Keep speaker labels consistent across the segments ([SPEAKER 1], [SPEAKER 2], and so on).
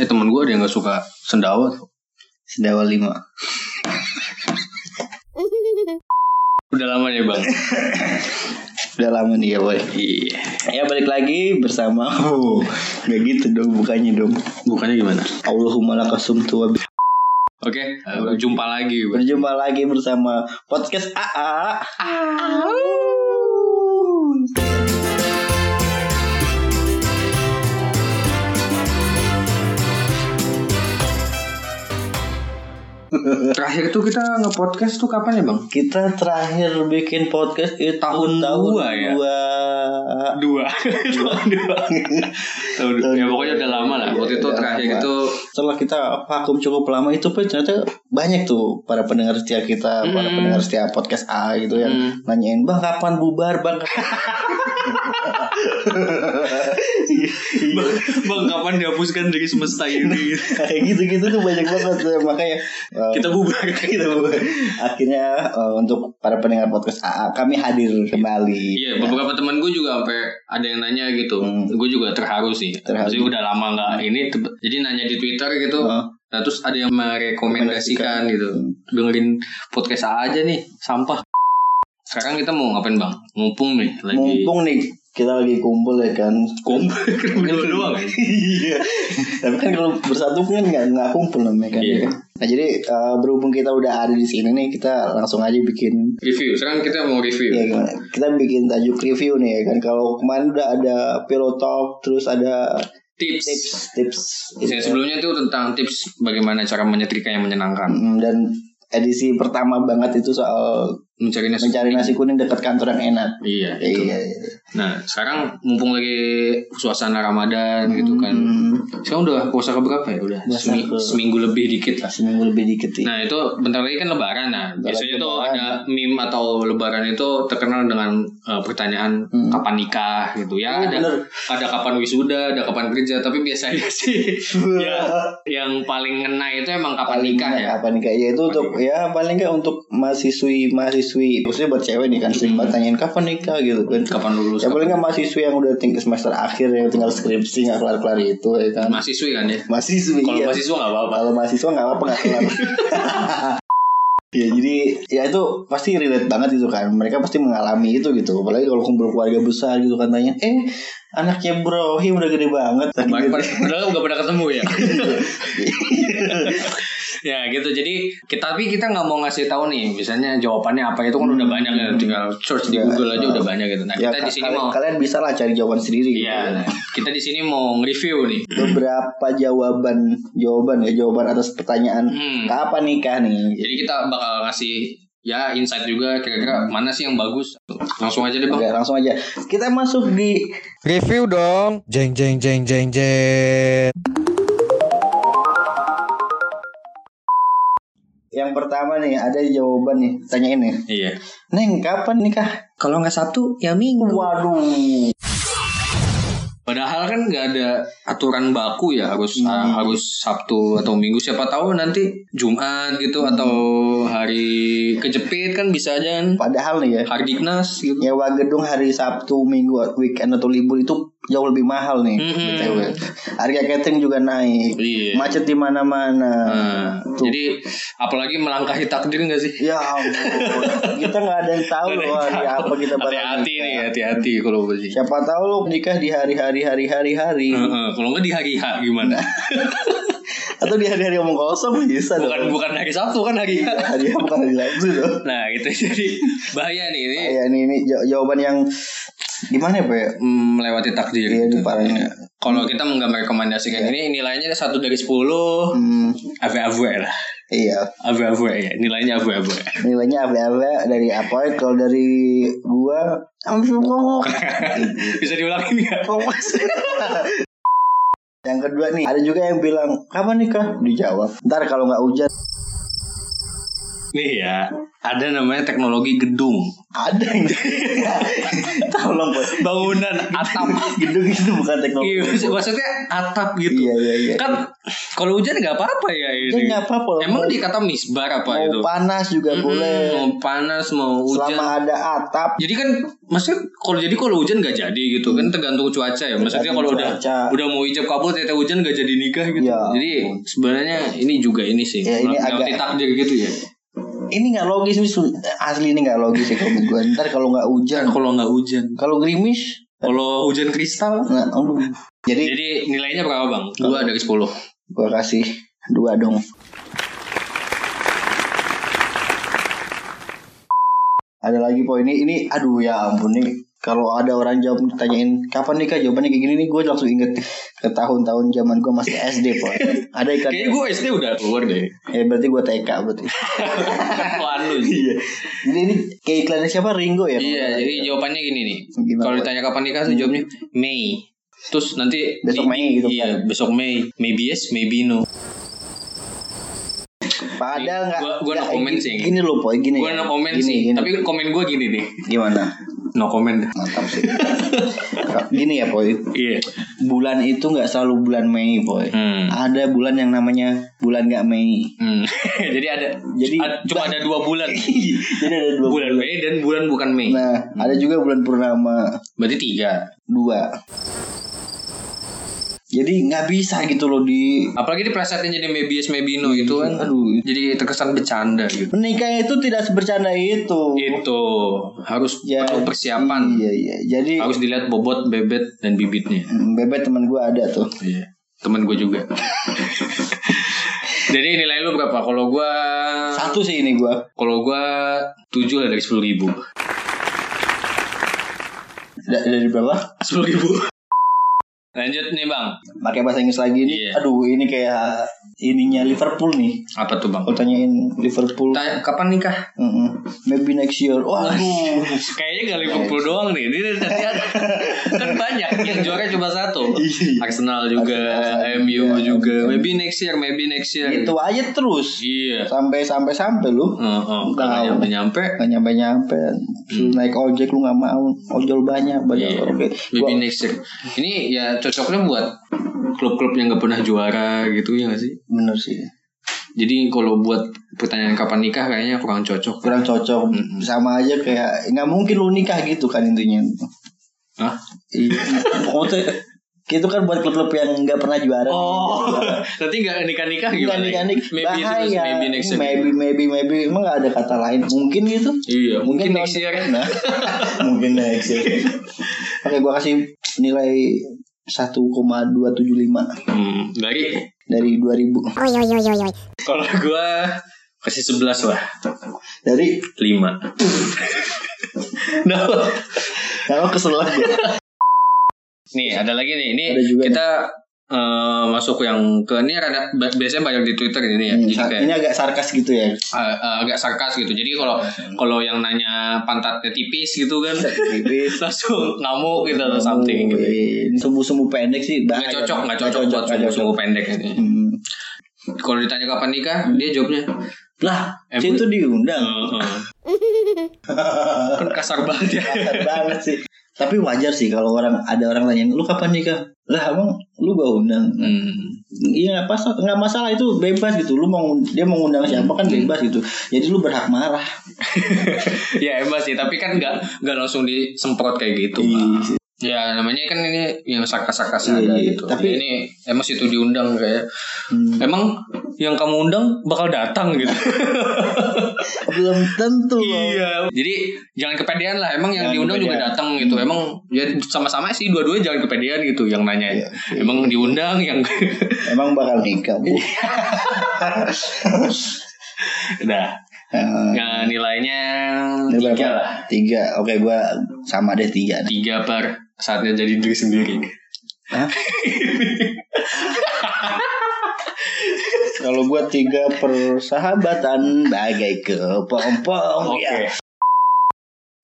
[SPEAKER 1] Eh temen gue ada yang gak suka sendawa tuh.
[SPEAKER 2] Sendawa lima.
[SPEAKER 1] Udah lama ya bang
[SPEAKER 2] Udah lama nih ya boy.
[SPEAKER 1] Iya
[SPEAKER 2] Ya balik lagi bersama. Oh, gak gitu dong bukannya dong.
[SPEAKER 1] Bukannya gimana?
[SPEAKER 2] Allahumma lakasum tua.
[SPEAKER 1] Oke eh, Jumpa lagi Bang.
[SPEAKER 2] Berjumpa lagi bersama podcast AA.
[SPEAKER 1] Terakhir tuh kita nge-podcast tuh kapan ya bang?
[SPEAKER 2] Kita terakhir bikin podcast itu
[SPEAKER 1] Tahun
[SPEAKER 2] tahun
[SPEAKER 1] dua ya?
[SPEAKER 2] dua.
[SPEAKER 1] Dua Tahun dua. Ya pokoknya udah lama lah Waktu itu
[SPEAKER 2] Udah
[SPEAKER 1] terakhir
[SPEAKER 2] lama.
[SPEAKER 1] itu
[SPEAKER 2] Setelah kita vakum cukup lama itu Pak, ternyata banyak tuh para pendengar setia kita, para
[SPEAKER 1] Hmm.
[SPEAKER 2] pendengar setia podcast AA gitu yang
[SPEAKER 1] Hmm.
[SPEAKER 2] nanyain bang kapan bubar bang
[SPEAKER 1] Bang, bang kapan dihapuskan dari semesta ini?
[SPEAKER 2] kayak gitu-gitu tuh banyak banget Eh, makanya eh,
[SPEAKER 1] kita bubar
[SPEAKER 2] kita bubar. akhirnya eh, untuk para pendengar podcast AA kami hadir kembali
[SPEAKER 1] Iya, beberapa teman gue juga sampai ada yang nanya gitu.
[SPEAKER 2] Hmm.
[SPEAKER 1] Gue juga terharu sih.
[SPEAKER 2] Terharu.
[SPEAKER 1] Maksudnya udah lama nggak ini. te- Jadi nanya di Twitter gitu.
[SPEAKER 2] Heeh.
[SPEAKER 1] Nah, terus ada yang merekomendasikan gitu. Dengerin podcast A aja nih, sampah. Sekarang kita mau ngapain, Bang? Mumpung nih lagi
[SPEAKER 2] mumpung nih kita lagi kumpul ya kan
[SPEAKER 1] kumpul berdua doang.
[SPEAKER 2] iya tapi kan kalau bersatu kan nggak nggak kumpul namanya kan
[SPEAKER 1] Iya.
[SPEAKER 2] ya kan? nah jadi eh, berhubung kita udah ada di sini nih kita langsung aja bikin
[SPEAKER 1] Review. Sekarang kita mau
[SPEAKER 2] Ya
[SPEAKER 1] review.
[SPEAKER 2] gimana? Kita bikin tajuk review nih ya kan. Kalau kemarin udah ada pillow talk, terus ada
[SPEAKER 1] Tips.
[SPEAKER 2] tips, Iya. tips.
[SPEAKER 1] Yang sebelumnya itu tentang tips bagaimana cara menyetrika yang menyenangkan.
[SPEAKER 2] Mm, Dan edisi pertama banget itu soal
[SPEAKER 1] Mencari nasi.
[SPEAKER 2] mencari nasi kuning dekat kantor yang enak.
[SPEAKER 1] Iya, itu.
[SPEAKER 2] Iya, iya.
[SPEAKER 1] Nah, sekarang mumpung lagi suasana Ramadan gitu kan.
[SPEAKER 2] Hmm,
[SPEAKER 1] Sekarang udah puasa ke berapa ya? Udah
[SPEAKER 2] Puasa
[SPEAKER 1] semi-
[SPEAKER 2] ke-
[SPEAKER 1] seminggu lebih dikit lah.
[SPEAKER 2] seminggu lebih dikit iya. sih.
[SPEAKER 1] Nah itu bentar lagi kan lebaran nah.
[SPEAKER 2] Bentar
[SPEAKER 1] Biasanya
[SPEAKER 2] lagi
[SPEAKER 1] tuh
[SPEAKER 2] lebaran.
[SPEAKER 1] ada meme atau lebaran itu terkenal dengan eh, pertanyaan
[SPEAKER 2] Hmm.
[SPEAKER 1] kapan nikah gitu. Ya
[SPEAKER 2] Iya,
[SPEAKER 1] ada
[SPEAKER 2] bener.
[SPEAKER 1] ada kapan wisuda, ada kapan kerja. Tapi biasanya sih ya, yang paling ngena itu emang kapan nikah ya.
[SPEAKER 2] apa nikah ya itu untuk ya paling nggak untuk mahasiswi mahasiswi maksudnya buat cewek nih kan sering banget tanyain kapan nikah gitu kan
[SPEAKER 1] Hmm. Kapan lulus?
[SPEAKER 2] ya paling nggak mahasiswi yang udah tinggal semester akhir yang tinggal skripsi nggak kelar kelar itu ya kan
[SPEAKER 1] Mahasiswi kan ya.
[SPEAKER 2] mahasiswi
[SPEAKER 1] Kalau
[SPEAKER 2] iya.
[SPEAKER 1] mahasiswa nggak apa-apa.
[SPEAKER 2] kalau mahasiswa nggak apa-apa nggak kelar ya jadi ya itu pasti relate banget gitu kan mereka pasti mengalami itu gitu apalagi kalau kumpul keluarga besar gitu kan tanya eh anaknya bro hi udah gede banget Tadi
[SPEAKER 1] Pad-
[SPEAKER 2] gitu.
[SPEAKER 1] pad- Padahal nggak pernah ketemu ya. ya gitu. Jadi kita tapi kita nggak mau ngasih tahu nih, misalnya jawabannya apa itu kan udah banyak ya. Tinggal search di
[SPEAKER 2] Ya,
[SPEAKER 1] Google aja
[SPEAKER 2] nah.
[SPEAKER 1] udah banyak gitu. Nah
[SPEAKER 2] ya,
[SPEAKER 1] kita di sini
[SPEAKER 2] kalian,
[SPEAKER 1] mau,
[SPEAKER 2] kalian bisa lah cari jawaban sendiri gitu
[SPEAKER 1] iya. nah, kita di sini mau nge-review nih.
[SPEAKER 2] beberapa jawaban jawaban ya jawaban atas pertanyaan
[SPEAKER 1] Hmm.
[SPEAKER 2] kapan nikah nih
[SPEAKER 1] Jadi kita bakal ngasih ya insight juga kira-kira mana sih yang bagus. Langsung aja deh bang.
[SPEAKER 2] Oke, langsung aja kita masuk di
[SPEAKER 3] Review dong. Jeng jeng jeng jeng jeng.
[SPEAKER 2] yang pertama nih ada jawaban nih tanyain nih
[SPEAKER 1] Iya.
[SPEAKER 2] neng kapan nikah
[SPEAKER 1] Kalau nggak Sabtu ya Minggu.
[SPEAKER 2] waduh
[SPEAKER 1] Padahal kan nggak ada aturan baku ya harus
[SPEAKER 2] Hmm.
[SPEAKER 1] ah, harus Sabtu atau Minggu. Siapa tahu nanti Jumat
[SPEAKER 2] Hmm.
[SPEAKER 1] gitu atau hari kejepit kan bisa aja kan.
[SPEAKER 2] padahal nih ya
[SPEAKER 1] Hardiknas gitu.
[SPEAKER 2] nyewa gedung hari Sabtu, Minggu, weekend atau libur itu jauh lebih mahal nih.
[SPEAKER 1] Mm-mm.
[SPEAKER 2] BTW. Harga catering juga naik.
[SPEAKER 1] Iya.
[SPEAKER 2] Macet di mana-mana.
[SPEAKER 1] Nah, jadi apalagi melangkahi takdir nggak sih?
[SPEAKER 2] Ya ampun. kita nggak ada yang tahu loh hari apa kita ya. bakal
[SPEAKER 1] Hati-hati
[SPEAKER 2] nikah.
[SPEAKER 1] nih, ya. hati-hati kalau beli.
[SPEAKER 2] Siapa tahu lo nikah di hari-hari hari-hari hari
[SPEAKER 1] Heeh, kalau nggak di hari H gimana?
[SPEAKER 2] atau di hari-hari omong kosong bisa
[SPEAKER 1] bukan
[SPEAKER 2] dong.
[SPEAKER 1] bukan hari Sabtu kan hari H.
[SPEAKER 2] Hari apa bukan hari Sabtu tuh.
[SPEAKER 1] Nah, itu jadi bahaya nih ini
[SPEAKER 2] Ya ini, ini jaw- jawaban yang gimana ya, Pak? ya?
[SPEAKER 1] mm, melewati takdir.
[SPEAKER 2] Iya,
[SPEAKER 1] gitu.
[SPEAKER 2] ini parahnya.
[SPEAKER 1] Kalau kita nggak merekomendasikan ini nilainya satu dari sepuluh.
[SPEAKER 2] Hmm,
[SPEAKER 1] Awe-awe lah.
[SPEAKER 2] iya.
[SPEAKER 1] Awe-awe ya. Nilainya awe-awe.
[SPEAKER 2] Nilainya apa-apa dari apa? Kalau dari gua, ampun
[SPEAKER 1] Bisa diulangin nggak?
[SPEAKER 2] yang kedua nih ada juga yang bilang kapan nikah dijawab ntar kalau nggak hujan
[SPEAKER 1] Nih ya, ada namanya teknologi gedung.
[SPEAKER 2] Ada yang Tolong buat
[SPEAKER 1] Bangunan atap.
[SPEAKER 2] gedung itu bukan teknologi.
[SPEAKER 1] Iya, maksudnya atap gitu.
[SPEAKER 2] Iya iya iya.
[SPEAKER 1] Kan kalau hujan nggak apa-apa ya
[SPEAKER 2] Itu
[SPEAKER 1] ini.
[SPEAKER 2] nggak apa-apa.
[SPEAKER 1] Emang dikata misbar apa
[SPEAKER 2] mau
[SPEAKER 1] itu?
[SPEAKER 2] panas juga
[SPEAKER 1] Mm-mm,
[SPEAKER 2] boleh.
[SPEAKER 1] Mau panas mau hujan.
[SPEAKER 2] Selama ada atap.
[SPEAKER 1] Jadi kan maksudnya kalau jadi kalau hujan nggak jadi gitu kan tergantung cuaca ya. Maksudnya
[SPEAKER 2] Hmm. Tergantung
[SPEAKER 1] kalau udah
[SPEAKER 2] cuaca.
[SPEAKER 1] udah mau ijab kabul tete hujan nggak jadi nikah gitu.
[SPEAKER 2] Iya.
[SPEAKER 1] Jadi sebenarnya ini juga ini sih.
[SPEAKER 2] Ya, ini
[SPEAKER 1] melewati
[SPEAKER 2] agak-
[SPEAKER 1] takdir gitu ya.
[SPEAKER 2] Ini nggak logis nih Su. asli ini nggak logis ya kalau gue. Ntar kalau nggak hujan,
[SPEAKER 1] Kan kalau nggak hujan,
[SPEAKER 2] kalau gerimis,
[SPEAKER 1] kalau hujan kristal.
[SPEAKER 2] nah, aduh. Jadi
[SPEAKER 1] Jadi nilainya berapa bang? Dua dari sepuluh.
[SPEAKER 2] gue kasih dua dong. Ada lagi poinnya ini, aduh ya ampun nih. Kalau ada orang jawab ditanyain kapan nikah jawabannya kayak gini nih gue langsung inget ke tahun-tahun zaman gue masih SD poin. Ada iklan
[SPEAKER 1] Kayaknya gue SD udah keluar deh.
[SPEAKER 2] ya berarti gue TK berarti.
[SPEAKER 1] Ketuaan lu.
[SPEAKER 2] Iya. Jadi ini kayak iklannya siapa Ringo ya?
[SPEAKER 1] Iya, jadi jawabannya gini nih.
[SPEAKER 2] Gimana?
[SPEAKER 1] Kalau ditanya kapan nikah, tuh jawabnya Mei. Terus nanti
[SPEAKER 2] Besok Mei gitu
[SPEAKER 1] Iya, besok Mei. Maybe yes, maybe no.
[SPEAKER 2] Padahal
[SPEAKER 1] Nih,
[SPEAKER 2] nggak.
[SPEAKER 1] gua- gua no
[SPEAKER 2] nggak-
[SPEAKER 1] comment sih.
[SPEAKER 2] Gini loh poin gini.
[SPEAKER 1] Gue
[SPEAKER 2] ya.
[SPEAKER 1] no comment
[SPEAKER 2] Gini,
[SPEAKER 1] sih,
[SPEAKER 2] gini.
[SPEAKER 1] tapi komen gue gini nih.
[SPEAKER 2] gimana?
[SPEAKER 1] No comment.
[SPEAKER 2] Mantap sih. gini ya poin.
[SPEAKER 1] Iya.
[SPEAKER 2] bulan itu nggak selalu bulan Mei, boy.
[SPEAKER 1] Hmm.
[SPEAKER 2] Ada bulan yang namanya bulan nggak Mei.
[SPEAKER 1] Hmm. Jadi ada
[SPEAKER 2] Jadi-
[SPEAKER 1] ad- cuma ada dua bulan.
[SPEAKER 2] Jadi ada dua
[SPEAKER 1] bulan
[SPEAKER 2] bulan.
[SPEAKER 1] Mei dan bulan bukan Mei.
[SPEAKER 2] Nah, ada juga bulan purnama
[SPEAKER 1] Berarti tiga.
[SPEAKER 2] dua. Jadi nggak bisa gitu loh di
[SPEAKER 1] Apalagi di presetnya jadi maybe yes, maybe no itu kan.
[SPEAKER 2] Aduh.
[SPEAKER 1] Jadi terkesan bercanda gitu.
[SPEAKER 2] menikah itu tidak sebercanda itu.
[SPEAKER 1] Itu harus Iya,
[SPEAKER 2] Ya,
[SPEAKER 1] perlu persiapan.
[SPEAKER 2] Iya iya. Jadi
[SPEAKER 1] Harus dilihat bobot, bebet, dan bibitnya.
[SPEAKER 2] Hmm, bebet teman gue ada tuh.
[SPEAKER 1] Iya. Temen gue juga. Jadi nilai lu berapa? Kalau gue
[SPEAKER 2] Satu sih ini gue.
[SPEAKER 1] kalau gue tujuh lah dari sepuluh ribu.
[SPEAKER 2] Dari berapa?
[SPEAKER 1] Sepuluh ribu. Lanjut nih bang.
[SPEAKER 2] Pakai bahasa Inggris lagi ini.
[SPEAKER 1] Iya.
[SPEAKER 2] Aduh, ini kayak ininya Liverpool nih.
[SPEAKER 1] Apa tuh bang?
[SPEAKER 2] Kalau tanyain Liverpool,
[SPEAKER 1] Tanya, kapan nikah?
[SPEAKER 2] Mm-mm. maybe next year. Waduh.
[SPEAKER 1] Kayaknya gak Liverpool doang nih. Ini nanti ada. kan banyak yang juara cuma satu.
[SPEAKER 2] Iya.
[SPEAKER 1] Arsenal juga,
[SPEAKER 2] Arsenal Iya.
[SPEAKER 1] MU
[SPEAKER 2] juga,
[SPEAKER 1] juga.
[SPEAKER 2] MU.
[SPEAKER 1] Maybe next year, maybe next year.
[SPEAKER 2] Gitu aja terus.
[SPEAKER 1] Iya.
[SPEAKER 2] Sampai sampai sampai lu
[SPEAKER 1] Heeh,
[SPEAKER 2] Tahu.
[SPEAKER 1] nyampe nyampe.
[SPEAKER 2] nggak nyampe nyampe. Naik ojek lu nggak mau. Ojol banyak banyak.
[SPEAKER 1] Hmm. Iya.
[SPEAKER 2] Oke.
[SPEAKER 1] Maybe
[SPEAKER 2] Gua-
[SPEAKER 1] next year. Ini ya cocoknya buat klub-klub yang gak pernah juara gitu ya gak sih?
[SPEAKER 2] Bener sih.
[SPEAKER 1] Jadi kalau buat pertanyaan kapan nikah kayaknya kurang cocok.
[SPEAKER 2] Kurang cocok.
[SPEAKER 1] Hmm.
[SPEAKER 2] Sama aja kayak nggak mungkin lu nikah gitu kan intinya.
[SPEAKER 1] Hah?
[SPEAKER 2] Iya. Pokoknya itu kan buat klub-klub yang nggak pernah juara.
[SPEAKER 1] Oh, nanti gak nikah-nikah
[SPEAKER 2] Bukan
[SPEAKER 1] gimana?
[SPEAKER 2] nikah nikah
[SPEAKER 1] Maybe terus
[SPEAKER 2] bahaya.
[SPEAKER 1] maybe next year.
[SPEAKER 2] Maybe maybe maybe. emang nggak ada kata lain mungkin gitu.
[SPEAKER 1] Iya, mungkin
[SPEAKER 2] tahun
[SPEAKER 1] next year.
[SPEAKER 2] depan, nah. mungkin next year. Oke, gua kasih nilai 1,275
[SPEAKER 1] Hmm, dari
[SPEAKER 2] dari 2000.
[SPEAKER 1] Kalau gue kasih 11 lah.
[SPEAKER 2] Dari
[SPEAKER 1] 5. nah,
[SPEAKER 2] kalau kesel lagi.
[SPEAKER 1] nih ada lagi nih. Ini
[SPEAKER 2] Ada juga
[SPEAKER 1] kita eh, masuk yang ke ini ada ba- biasanya banyak di Twitter ini ya.
[SPEAKER 2] Hmm,
[SPEAKER 1] Jadi
[SPEAKER 2] sa-
[SPEAKER 1] kayak
[SPEAKER 2] ini agak sarkas gitu ya.
[SPEAKER 1] eh, eh, agak sarkas gitu. Jadi kalau
[SPEAKER 2] Hmm,
[SPEAKER 1] kalau yang nanya pantatnya tipis gitu kan
[SPEAKER 2] Tipis.
[SPEAKER 1] langsung ngamuk gitu atau something gitu.
[SPEAKER 2] Ini sumbu-sumbu pendek sih bahaya.
[SPEAKER 1] Gak cocok, gak cocok buat
[SPEAKER 2] nggak iya. cocok.
[SPEAKER 1] sumbu pendek ini.
[SPEAKER 2] Hmm.
[SPEAKER 1] Kalau ditanya kapan nikah, dia jawabnya
[SPEAKER 2] Lah,
[SPEAKER 1] Em-
[SPEAKER 2] itu diundang.
[SPEAKER 1] "Eh, eh." kan kasar banget ya.
[SPEAKER 2] Kasar banget sih. Tapi wajar sih kalau orang ada orang tanyain, lu kapan nikah? Lah emang lu gak undang.
[SPEAKER 1] Hmm.
[SPEAKER 2] Iya nggak pas- nggak masalah itu bebas gitu. Lu mau dia mau ngundang siapa kan
[SPEAKER 1] Hmm.
[SPEAKER 2] bebas gitu. Jadi lu berhak marah.
[SPEAKER 1] ya emang sih tapi kan nggak nggak langsung disemprot kayak gitu Pak.
[SPEAKER 2] Iya.
[SPEAKER 1] ya namanya kan ini yang sarkas-sarkas
[SPEAKER 2] Iya,
[SPEAKER 1] ada
[SPEAKER 2] iya.
[SPEAKER 1] gitu tapi
[SPEAKER 2] Tapi-
[SPEAKER 1] ini emang situ diundang kayak
[SPEAKER 2] Hmm.
[SPEAKER 1] emang yang kamu undang bakal datang gitu
[SPEAKER 2] Belum tentu. loh.
[SPEAKER 1] iya jadi jangan kepedean lah emang yang
[SPEAKER 2] Jangan
[SPEAKER 1] diundang juga
[SPEAKER 2] kepedean.
[SPEAKER 1] datang gitu emang ya sama-sama sih dua-dua jangan kepedean gitu yang nanya
[SPEAKER 2] Iya.
[SPEAKER 1] emang diundang yang
[SPEAKER 2] Emang bakal nikah. Bu.
[SPEAKER 1] Iya. nah
[SPEAKER 2] Eh,
[SPEAKER 1] ya, nilainya
[SPEAKER 2] ini berapa?
[SPEAKER 1] tiga lah
[SPEAKER 2] Tiga. Oke, gua sama deh tiga. nih.
[SPEAKER 1] tiga per saatnya jadi diri sendiri
[SPEAKER 2] Hah? Kalau gua tiga persahabatan bagai kepompong.
[SPEAKER 1] oke
[SPEAKER 2] Ya.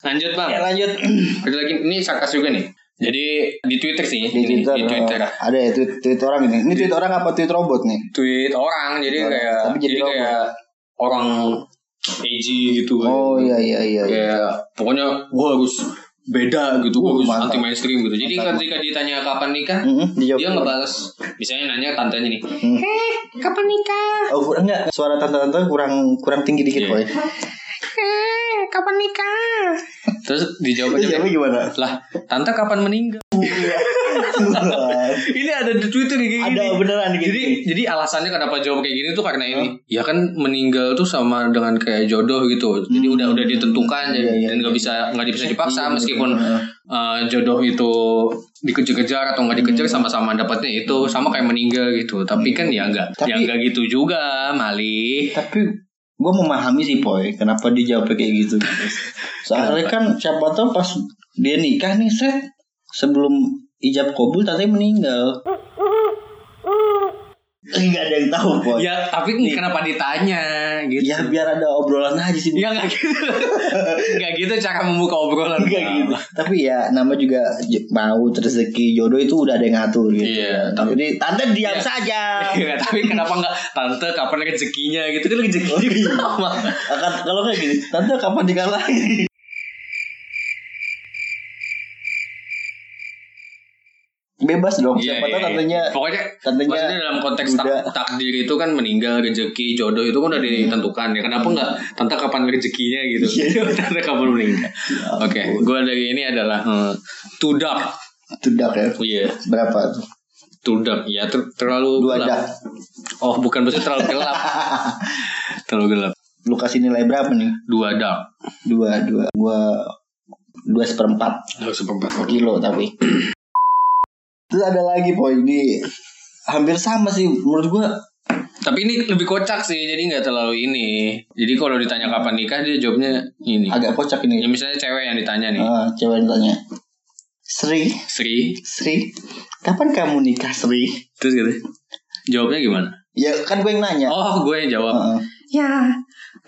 [SPEAKER 1] lanjut bang
[SPEAKER 2] Ya, lanjut
[SPEAKER 1] Ada lagi ini sarkas juga nih. Jadi di Twitter sih,
[SPEAKER 2] di
[SPEAKER 1] ini,
[SPEAKER 2] Twitter.
[SPEAKER 1] di Twitter.
[SPEAKER 2] eh, Ada ya tweet, tweet orang ini. Ini tweet orang apa tweet robot nih?
[SPEAKER 1] Tweet orang jadi
[SPEAKER 2] Orang.
[SPEAKER 1] kayak
[SPEAKER 2] Nah, Tapi jadi
[SPEAKER 1] jadi,
[SPEAKER 2] robot.
[SPEAKER 1] kayak orang edgy gitu kan.
[SPEAKER 2] Oh iya iya iya. iya.
[SPEAKER 1] kayak pokoknya gue harus beda gitu gue
[SPEAKER 2] Uh,
[SPEAKER 1] harus
[SPEAKER 2] mantap.
[SPEAKER 1] anti mainstream gitu jadi
[SPEAKER 2] Mantap. Hmm.
[SPEAKER 1] ketika ditanya kapan nikah
[SPEAKER 2] Mm-mm, dijawab.
[SPEAKER 1] dia ngebales misalnya nanya tantenya nih
[SPEAKER 2] Hmm.
[SPEAKER 1] eh kapan nikah
[SPEAKER 2] Oh kur- enggak suara tante-tante kurang kurang tinggi dikit
[SPEAKER 1] Iya.
[SPEAKER 2] boy.
[SPEAKER 1] eh kapan nikah terus dijawab aja
[SPEAKER 2] Dijawabnya Iya, gimana?
[SPEAKER 1] lah tante kapan meninggal ini ada di twitter kayak gini
[SPEAKER 2] Ada beneran gitu. kayak
[SPEAKER 1] jadi
[SPEAKER 2] gini.
[SPEAKER 1] jadi alasannya kenapa jawab kayak gini tuh karena ini ya kan meninggal tuh sama dengan kayak jodoh gitu jadi
[SPEAKER 2] Hmm.
[SPEAKER 1] udah udah ditentukan
[SPEAKER 2] Iya,
[SPEAKER 1] jadi
[SPEAKER 2] iya,
[SPEAKER 1] dan nggak
[SPEAKER 2] iya.
[SPEAKER 1] bisa nggak bisa dipaksa
[SPEAKER 2] Iya,
[SPEAKER 1] meskipun
[SPEAKER 2] iya.
[SPEAKER 1] eh, jodoh itu dikejar-kejar atau nggak dikejar
[SPEAKER 2] Hmm.
[SPEAKER 1] sama-sama dapatnya itu sama kayak meninggal gitu tapi kan ya nggak
[SPEAKER 2] Iya. Tapi-
[SPEAKER 1] ya nggak gitu juga malih
[SPEAKER 2] Tapi gue memahami sih boy kenapa dia jawab kayak gitu. Soalnya kan siapa tahu pas dia nikah nih set sebelum ijab kabul tante meninggal. Enggak ada yang tahu boy. Ya,
[SPEAKER 1] ya tapi
[SPEAKER 2] Nih.
[SPEAKER 1] kenapa ditanya gitu
[SPEAKER 2] biar ada obrolan aja sih.
[SPEAKER 1] Ya nggak gitu, nggak gitu cara membuka obrolan.
[SPEAKER 2] Enggak gitu. Tapi ya nama juga j- mau rezeki jodoh itu udah ada yang ngatur gitu.
[SPEAKER 1] Iya, tapi-
[SPEAKER 2] Jadi tante diam
[SPEAKER 1] Iya.
[SPEAKER 2] saja.
[SPEAKER 1] Iya, tapi kenapa nggak tante kapan rezekinya gitu kan
[SPEAKER 2] Oh,
[SPEAKER 1] rezekinya
[SPEAKER 2] iya.
[SPEAKER 1] sama.
[SPEAKER 2] Akan kalau kayak gini, tante kapan nikah lagi? Bebas dong,
[SPEAKER 1] Iya,
[SPEAKER 2] Oh, siapa
[SPEAKER 1] iya,
[SPEAKER 2] tahu
[SPEAKER 1] iya.
[SPEAKER 2] tantenya
[SPEAKER 1] pokoknya
[SPEAKER 2] tantenya
[SPEAKER 1] maksudnya dalam konteks tak-
[SPEAKER 2] duda.
[SPEAKER 1] takdir itu kan meninggal rezeki jodoh itu kan
[SPEAKER 2] Iya.
[SPEAKER 1] udah ditentukan ya kenapa nggak tante kapan rezekinya gitu
[SPEAKER 2] iya.
[SPEAKER 1] tante kapan
[SPEAKER 2] Ya
[SPEAKER 1] meninggal oke gue dari ini adalah eh, tudak
[SPEAKER 2] tudak ya.
[SPEAKER 1] iya
[SPEAKER 2] Berapa tuh?
[SPEAKER 1] tudak ya ter- terlalu
[SPEAKER 2] Dua
[SPEAKER 1] gelap
[SPEAKER 2] dak.
[SPEAKER 1] oh bukan maksudnya terlalu gelap terlalu gelap
[SPEAKER 2] Lu kasih nilai berapa nih?
[SPEAKER 1] dua dak
[SPEAKER 2] Dua, dua, dua, dua seperempat
[SPEAKER 1] harus seperempat
[SPEAKER 2] kilo tapi. Terus ada lagi poin di hampir sama sih menurut gua
[SPEAKER 1] Tapi ini lebih kocak sih, jadi nggak terlalu ini. Jadi kalau ditanya kapan nikah, dia jawabnya ini.
[SPEAKER 2] agak kocak
[SPEAKER 1] Ya
[SPEAKER 2] ini.
[SPEAKER 1] misalnya cewek yang ditanya nih,
[SPEAKER 2] Ah, coba yang tanya. Sri,
[SPEAKER 1] Sri,
[SPEAKER 2] Sri, kapan kamu nikah Sri?
[SPEAKER 1] terus gitu. Jawabnya gimana?
[SPEAKER 2] Ya kan gue yang nanya.
[SPEAKER 1] Oh, gue yang jawab.
[SPEAKER 2] Heeh.
[SPEAKER 4] Ya,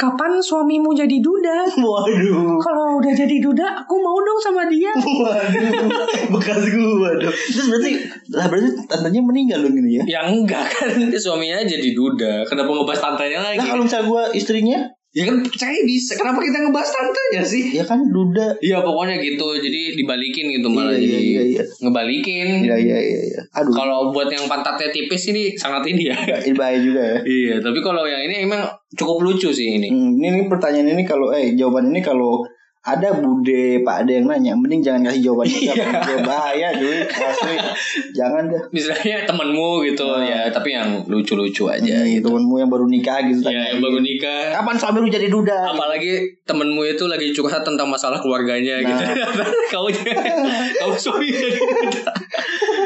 [SPEAKER 4] kapan suamimu jadi duda?
[SPEAKER 2] Waduh,
[SPEAKER 4] Kalau udah jadi duda, aku mau dong sama dia.
[SPEAKER 2] waduh, bekas gue dong. Terus berarti, lah berarti tantenya meninggal dong ini ya?
[SPEAKER 1] Ya enggak kan, suaminya jadi duda. Kenapa ngebahas tantenya lagi?
[SPEAKER 2] Nah kalau misalnya gue istrinya,
[SPEAKER 1] Ya kan percaya bisa. Kenapa kita ngebahas tantenya sih?
[SPEAKER 2] ya kan duda.
[SPEAKER 1] Iya pokoknya gitu, jadi dibalikin gitu malah
[SPEAKER 2] Iya, iya,
[SPEAKER 1] jadi
[SPEAKER 2] iya, iya.
[SPEAKER 1] ngebalikin.
[SPEAKER 2] Iya iya iya. iya. Aduh,
[SPEAKER 1] Kalau buat yang pantatnya tipis ini sangat ini ya.
[SPEAKER 2] ini bahaya juga ya.
[SPEAKER 1] iya, tapi kalau yang ini emang cukup lucu sih ini.
[SPEAKER 2] Hmm, ini, ini pertanyaan ini kalau eh jawaban ini kalau ada bude pak ada yang nanya mending jangan kasih jawaban itu Dia bahaya duit asli jangan deh
[SPEAKER 1] misalnya temenmu gitu ya tapi yang lucu-lucu aja
[SPEAKER 2] ya,
[SPEAKER 1] gitu
[SPEAKER 2] temenmu yang baru nikah gitu
[SPEAKER 1] ya yang baru nikah
[SPEAKER 2] kapan suami lu jadi duda
[SPEAKER 1] apalagi temenmu itu lagi curhat tentang masalah keluarganya gitu kamu kamu suami jadi duda.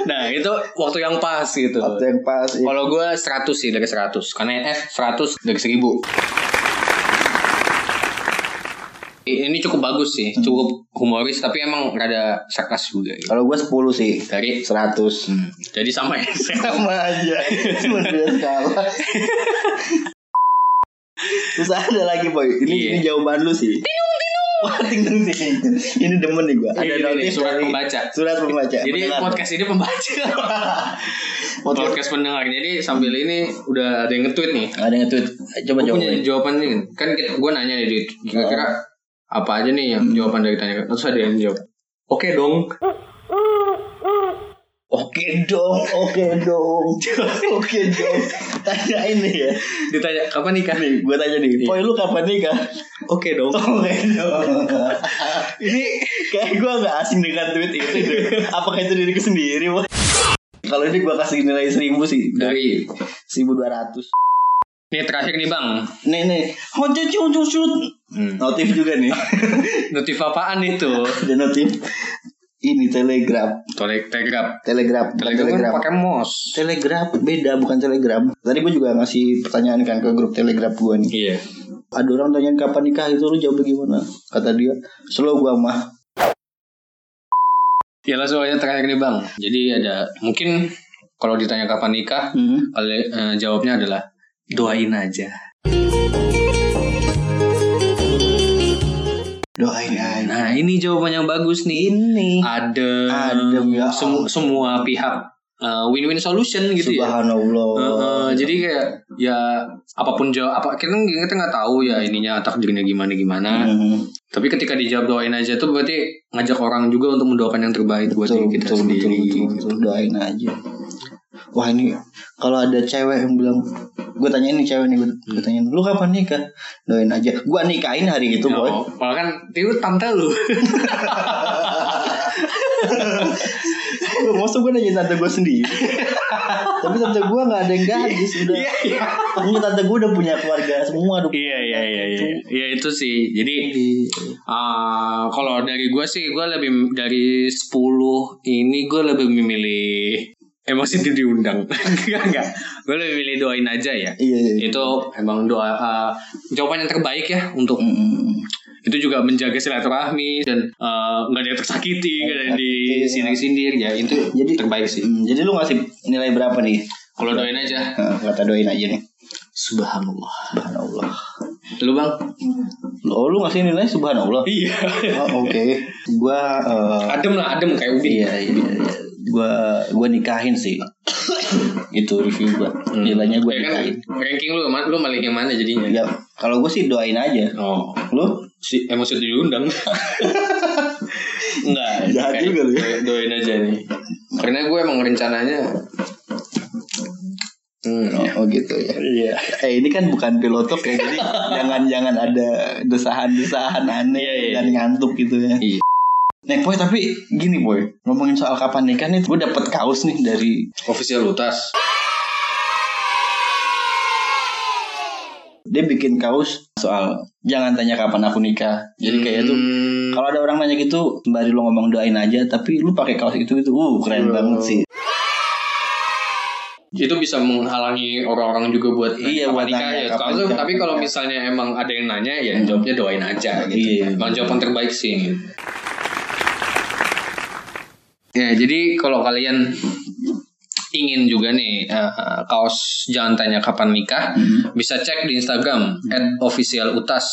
[SPEAKER 1] nah itu waktu yang pas gitu
[SPEAKER 2] atau yang pas ya.
[SPEAKER 1] kalau gue 100 sih dari 100 karena yang F 100 dari 1000 ini cukup bagus sih cukup humoris tapi emang rada sarkas juga gitu.
[SPEAKER 2] kalau gue 10 sih
[SPEAKER 1] dari
[SPEAKER 2] 100
[SPEAKER 1] Hmm, jadi sama ya
[SPEAKER 2] sama aja cuma beda skala terus ada lagi boy ini,
[SPEAKER 1] Iya.
[SPEAKER 2] ini jawaban lu sih Wah, ting ting ting. ini demen nih gue ada
[SPEAKER 1] Ini, ini,
[SPEAKER 2] notif
[SPEAKER 1] Iya, surat
[SPEAKER 2] dari-
[SPEAKER 1] pembaca.
[SPEAKER 2] surat pembaca
[SPEAKER 1] Jadi
[SPEAKER 2] Mendengar.
[SPEAKER 1] podcast ini pembaca.
[SPEAKER 2] Ya, Podcast.
[SPEAKER 1] podcast pendengar. Jadi sambil ini udah ada yang nge-tweet nih.
[SPEAKER 2] ada yang tweet coba
[SPEAKER 1] Gue
[SPEAKER 2] jawab
[SPEAKER 1] punya jawaban nih. Kan kita, gue nanya nih, Dit. kira-kira apa aja nih yang jawaban dari tanya. Terus ada yang jawab. Oke dong.
[SPEAKER 2] oke dong oke dong oke dong tanya ini ya
[SPEAKER 1] Ditanya kapan nikah?
[SPEAKER 2] nih gue tanya nih boy lu kapan nikah
[SPEAKER 1] Iya.
[SPEAKER 2] Oh,
[SPEAKER 1] Oke dong.
[SPEAKER 2] oke dong
[SPEAKER 1] Ini
[SPEAKER 2] Kayak gue gak asing dengan tweet itu deh. Apakah itu diriku sendiri Wak? Kalau ini gue kasih nilai 1000 sih
[SPEAKER 1] dari
[SPEAKER 2] 1200
[SPEAKER 1] ini terakhir nih bang.
[SPEAKER 2] Nih nih Oh, Honjo honjo shoot
[SPEAKER 1] Hmm.
[SPEAKER 2] Notif juga nih
[SPEAKER 1] Notif apaan itu?
[SPEAKER 2] Ada notif Ini telegram
[SPEAKER 1] Tolek telegram.
[SPEAKER 2] Telegram bukan
[SPEAKER 1] Telegram kan
[SPEAKER 2] telegram
[SPEAKER 1] pakai mos.
[SPEAKER 2] Telegram beda bukan telegram Tadi gue juga ngasih pertanyaan kan ke grup telegram gue nih
[SPEAKER 1] Iya.
[SPEAKER 2] Ada orang tanya kapan nikah itu lu jawab gimana Kata dia Slow gue mah
[SPEAKER 1] Ya langsung aja terakhir nih bang. Jadi ada mungkin kalau ditanya kapan nikah,
[SPEAKER 2] Hmm.
[SPEAKER 1] oleh eh, jawabnya adalah doain aja.
[SPEAKER 2] Doain aja
[SPEAKER 1] Nah ini jawaban yang bagus nih.
[SPEAKER 2] Ini
[SPEAKER 1] Adem,
[SPEAKER 2] Adem, ya
[SPEAKER 1] semu- semua pihak eh, win-win solution gitu ya.
[SPEAKER 2] Subhanallah.
[SPEAKER 1] Heeh,
[SPEAKER 2] Gitu.
[SPEAKER 1] jadi kayak ya apapun jawab apa kita kita nggak tahu ya ininya takdirnya gimana gimana.
[SPEAKER 2] Hmm.
[SPEAKER 1] Tapi ketika dijawab doain aja tuh berarti ngajak orang juga untuk mendoakan yang terbaik buat diri
[SPEAKER 2] betul,
[SPEAKER 1] kita
[SPEAKER 2] betul, betul,
[SPEAKER 1] sendiri.
[SPEAKER 2] betul, betul, doain aja. Wah ini kalau ada cewek yang bilang gue tanyain nih cewek nih gue,
[SPEAKER 1] Hmm.
[SPEAKER 2] gue tanyain lu kapan nikah doain aja gue nikahin hari itu
[SPEAKER 1] Ya,
[SPEAKER 2] boy
[SPEAKER 1] malah kan itu tante lu.
[SPEAKER 2] Gue maksud gue nanya tante gue sendiri Tapi tante gue gak ada yang
[SPEAKER 1] Iya,
[SPEAKER 2] gadis udah. Ini tante gue udah punya keluarga semua udah gitu.
[SPEAKER 1] Iya iya iya iya.
[SPEAKER 2] Itu-
[SPEAKER 1] Iya itu sih.
[SPEAKER 2] Iya.
[SPEAKER 1] Jadi
[SPEAKER 2] Jadi,
[SPEAKER 1] ah, kalau dari gue sih gue lebih dari 10 ini gue lebih memilih emosi itu diundang. enggak enggak. Gue lebih milih doain aja ya.
[SPEAKER 2] Iya iya iya.
[SPEAKER 1] Itu emang doa ah, jawaban yang terbaik ya untuk
[SPEAKER 2] Mm-mm.
[SPEAKER 1] itu juga menjaga silaturahmi dan eh, nggak ada yang tersakiti, nggak ada yang disindir-sindir ya itu
[SPEAKER 2] Jadi-
[SPEAKER 1] terbaik sih.
[SPEAKER 2] Mm, Jadi lu ngasih nilai berapa nih?
[SPEAKER 1] Kalau doain aja,
[SPEAKER 2] Nah, kata doain aja nih
[SPEAKER 1] subhanallah.
[SPEAKER 2] Subhanallah
[SPEAKER 1] Lu bang?
[SPEAKER 2] Oh lu ngasih nilai subhanallah
[SPEAKER 1] Iya.
[SPEAKER 2] Oh, Oke Gue eh,
[SPEAKER 1] adem lah, adem kayak ubin.
[SPEAKER 2] Iya iya iya. Gue gue nikahin sih Itu review gue Nilainya gue
[SPEAKER 1] Ya kan
[SPEAKER 2] nikahin
[SPEAKER 1] ranking lu ma- lu malah yang mana jadinya?
[SPEAKER 2] Ya kalau gue sih doain aja
[SPEAKER 1] Oh,
[SPEAKER 2] Lu?
[SPEAKER 1] si emosi itu diundang. Enggak.
[SPEAKER 2] Jahat
[SPEAKER 1] kayak-
[SPEAKER 2] juga lu ya.
[SPEAKER 1] kayak Doain aja nih. Karena gue emang rencananya Hmm.
[SPEAKER 2] Oh, oh gitu ya. Iya. Eh ini kan bukan pilotok ya, jadi jangan-jangan ada desahan-desahan aneh
[SPEAKER 1] Iya, iya,
[SPEAKER 2] dan
[SPEAKER 1] iya.
[SPEAKER 2] ngantuk gitu ya.
[SPEAKER 1] Iya.
[SPEAKER 2] Nek boy tapi gini boy ngomongin soal kapan nikah nih, gue dapet kaos nih dari
[SPEAKER 1] Ofisialitas.
[SPEAKER 2] dia bikin kaos soal jangan tanya kapan aku nikah. Jadi kayak itu
[SPEAKER 1] Hmm.
[SPEAKER 2] kalau ada orang nanya gitu sembari lo ngomong doain aja, tapi lu pakai kaos itu gitu, uh keren
[SPEAKER 1] Iya.
[SPEAKER 2] banget sih.
[SPEAKER 1] itu bisa menghalangi orang-orang juga buat
[SPEAKER 2] Iya,
[SPEAKER 1] kapan
[SPEAKER 2] buat
[SPEAKER 1] nikah
[SPEAKER 2] nanya,
[SPEAKER 1] ya.
[SPEAKER 2] kapan
[SPEAKER 1] Kalau-
[SPEAKER 2] nikah,
[SPEAKER 1] tapi
[SPEAKER 2] kapan
[SPEAKER 1] kalau
[SPEAKER 2] nikah.
[SPEAKER 1] misalnya emang ada yang nanya ya jawabnya doain aja gitu.
[SPEAKER 2] Iya, iya.
[SPEAKER 1] Emang jawaban terbaik sih. gitu. Ya, jadi kalau kalian ingin juga nih eh, kaos jangan tanya kapan nikah, bisa cek di Instagram @officialutas.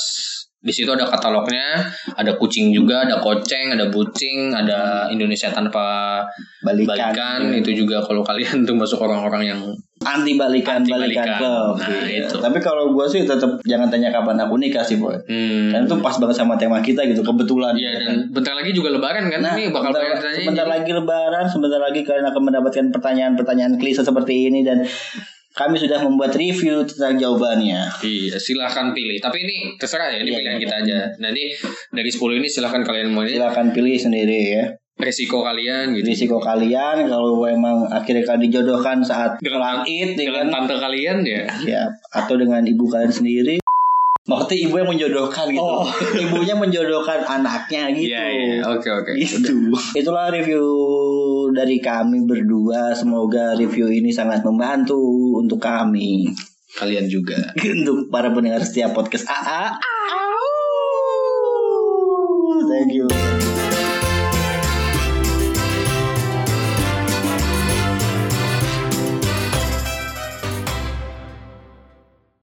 [SPEAKER 1] Di situ ada katalognya, ada kucing juga, ada koceng, ada bucing, ada Indonesia tanpa
[SPEAKER 2] Balikan,
[SPEAKER 1] balikan itu juga kalau kalian tuh masuk orang-orang yang
[SPEAKER 2] anti balikan,
[SPEAKER 1] Anti
[SPEAKER 2] balikan,
[SPEAKER 1] balikan.
[SPEAKER 2] club.
[SPEAKER 1] Nah,
[SPEAKER 2] Iya.
[SPEAKER 1] itu.
[SPEAKER 2] Tapi kalau gue sih tetap jangan tanya kapan aku nikah sih boy.
[SPEAKER 1] hmm,
[SPEAKER 2] Dan itu pas banget sama tema kita gitu kebetulan.
[SPEAKER 1] iya dan bentar lagi juga lebaran kan
[SPEAKER 2] Nah,
[SPEAKER 1] nih bakal banyak
[SPEAKER 2] bentar,
[SPEAKER 1] tanya
[SPEAKER 2] sebentar lagi lebaran, sebentar lagi kalian akan mendapatkan pertanyaan-pertanyaan klise seperti ini dan kami sudah membuat review tentang jawabannya.
[SPEAKER 1] Iya, silahkan pilih. Tapi ini terserah ya, ini
[SPEAKER 2] Iya,
[SPEAKER 1] pilihan
[SPEAKER 2] iya.
[SPEAKER 1] kita aja. Nanti dari 10 ini silahkan kalian mau
[SPEAKER 2] Silakan pilih sendiri ya.
[SPEAKER 1] resiko kalian gitu.
[SPEAKER 2] Risiko kalian kalau emang akhirnya kalian dijodohkan saat
[SPEAKER 1] Dengan-
[SPEAKER 2] langit ya
[SPEAKER 1] Dengan
[SPEAKER 2] kan?
[SPEAKER 1] tante kalian ya.
[SPEAKER 2] Ya, atau dengan ibu kalian sendiri. Maksudnya ibu yang menjodohkan gitu.
[SPEAKER 1] Oh.
[SPEAKER 2] Ibunya menjodohkan anaknya gitu.
[SPEAKER 1] Iya, iya. Oke, oke.
[SPEAKER 2] Gitu. Itulah review dari kami berdua. Semoga review ini sangat membantu untuk kami.
[SPEAKER 1] Kalian juga.
[SPEAKER 2] Untuk Ah, para pendengar setiap podcast AA. Thank you.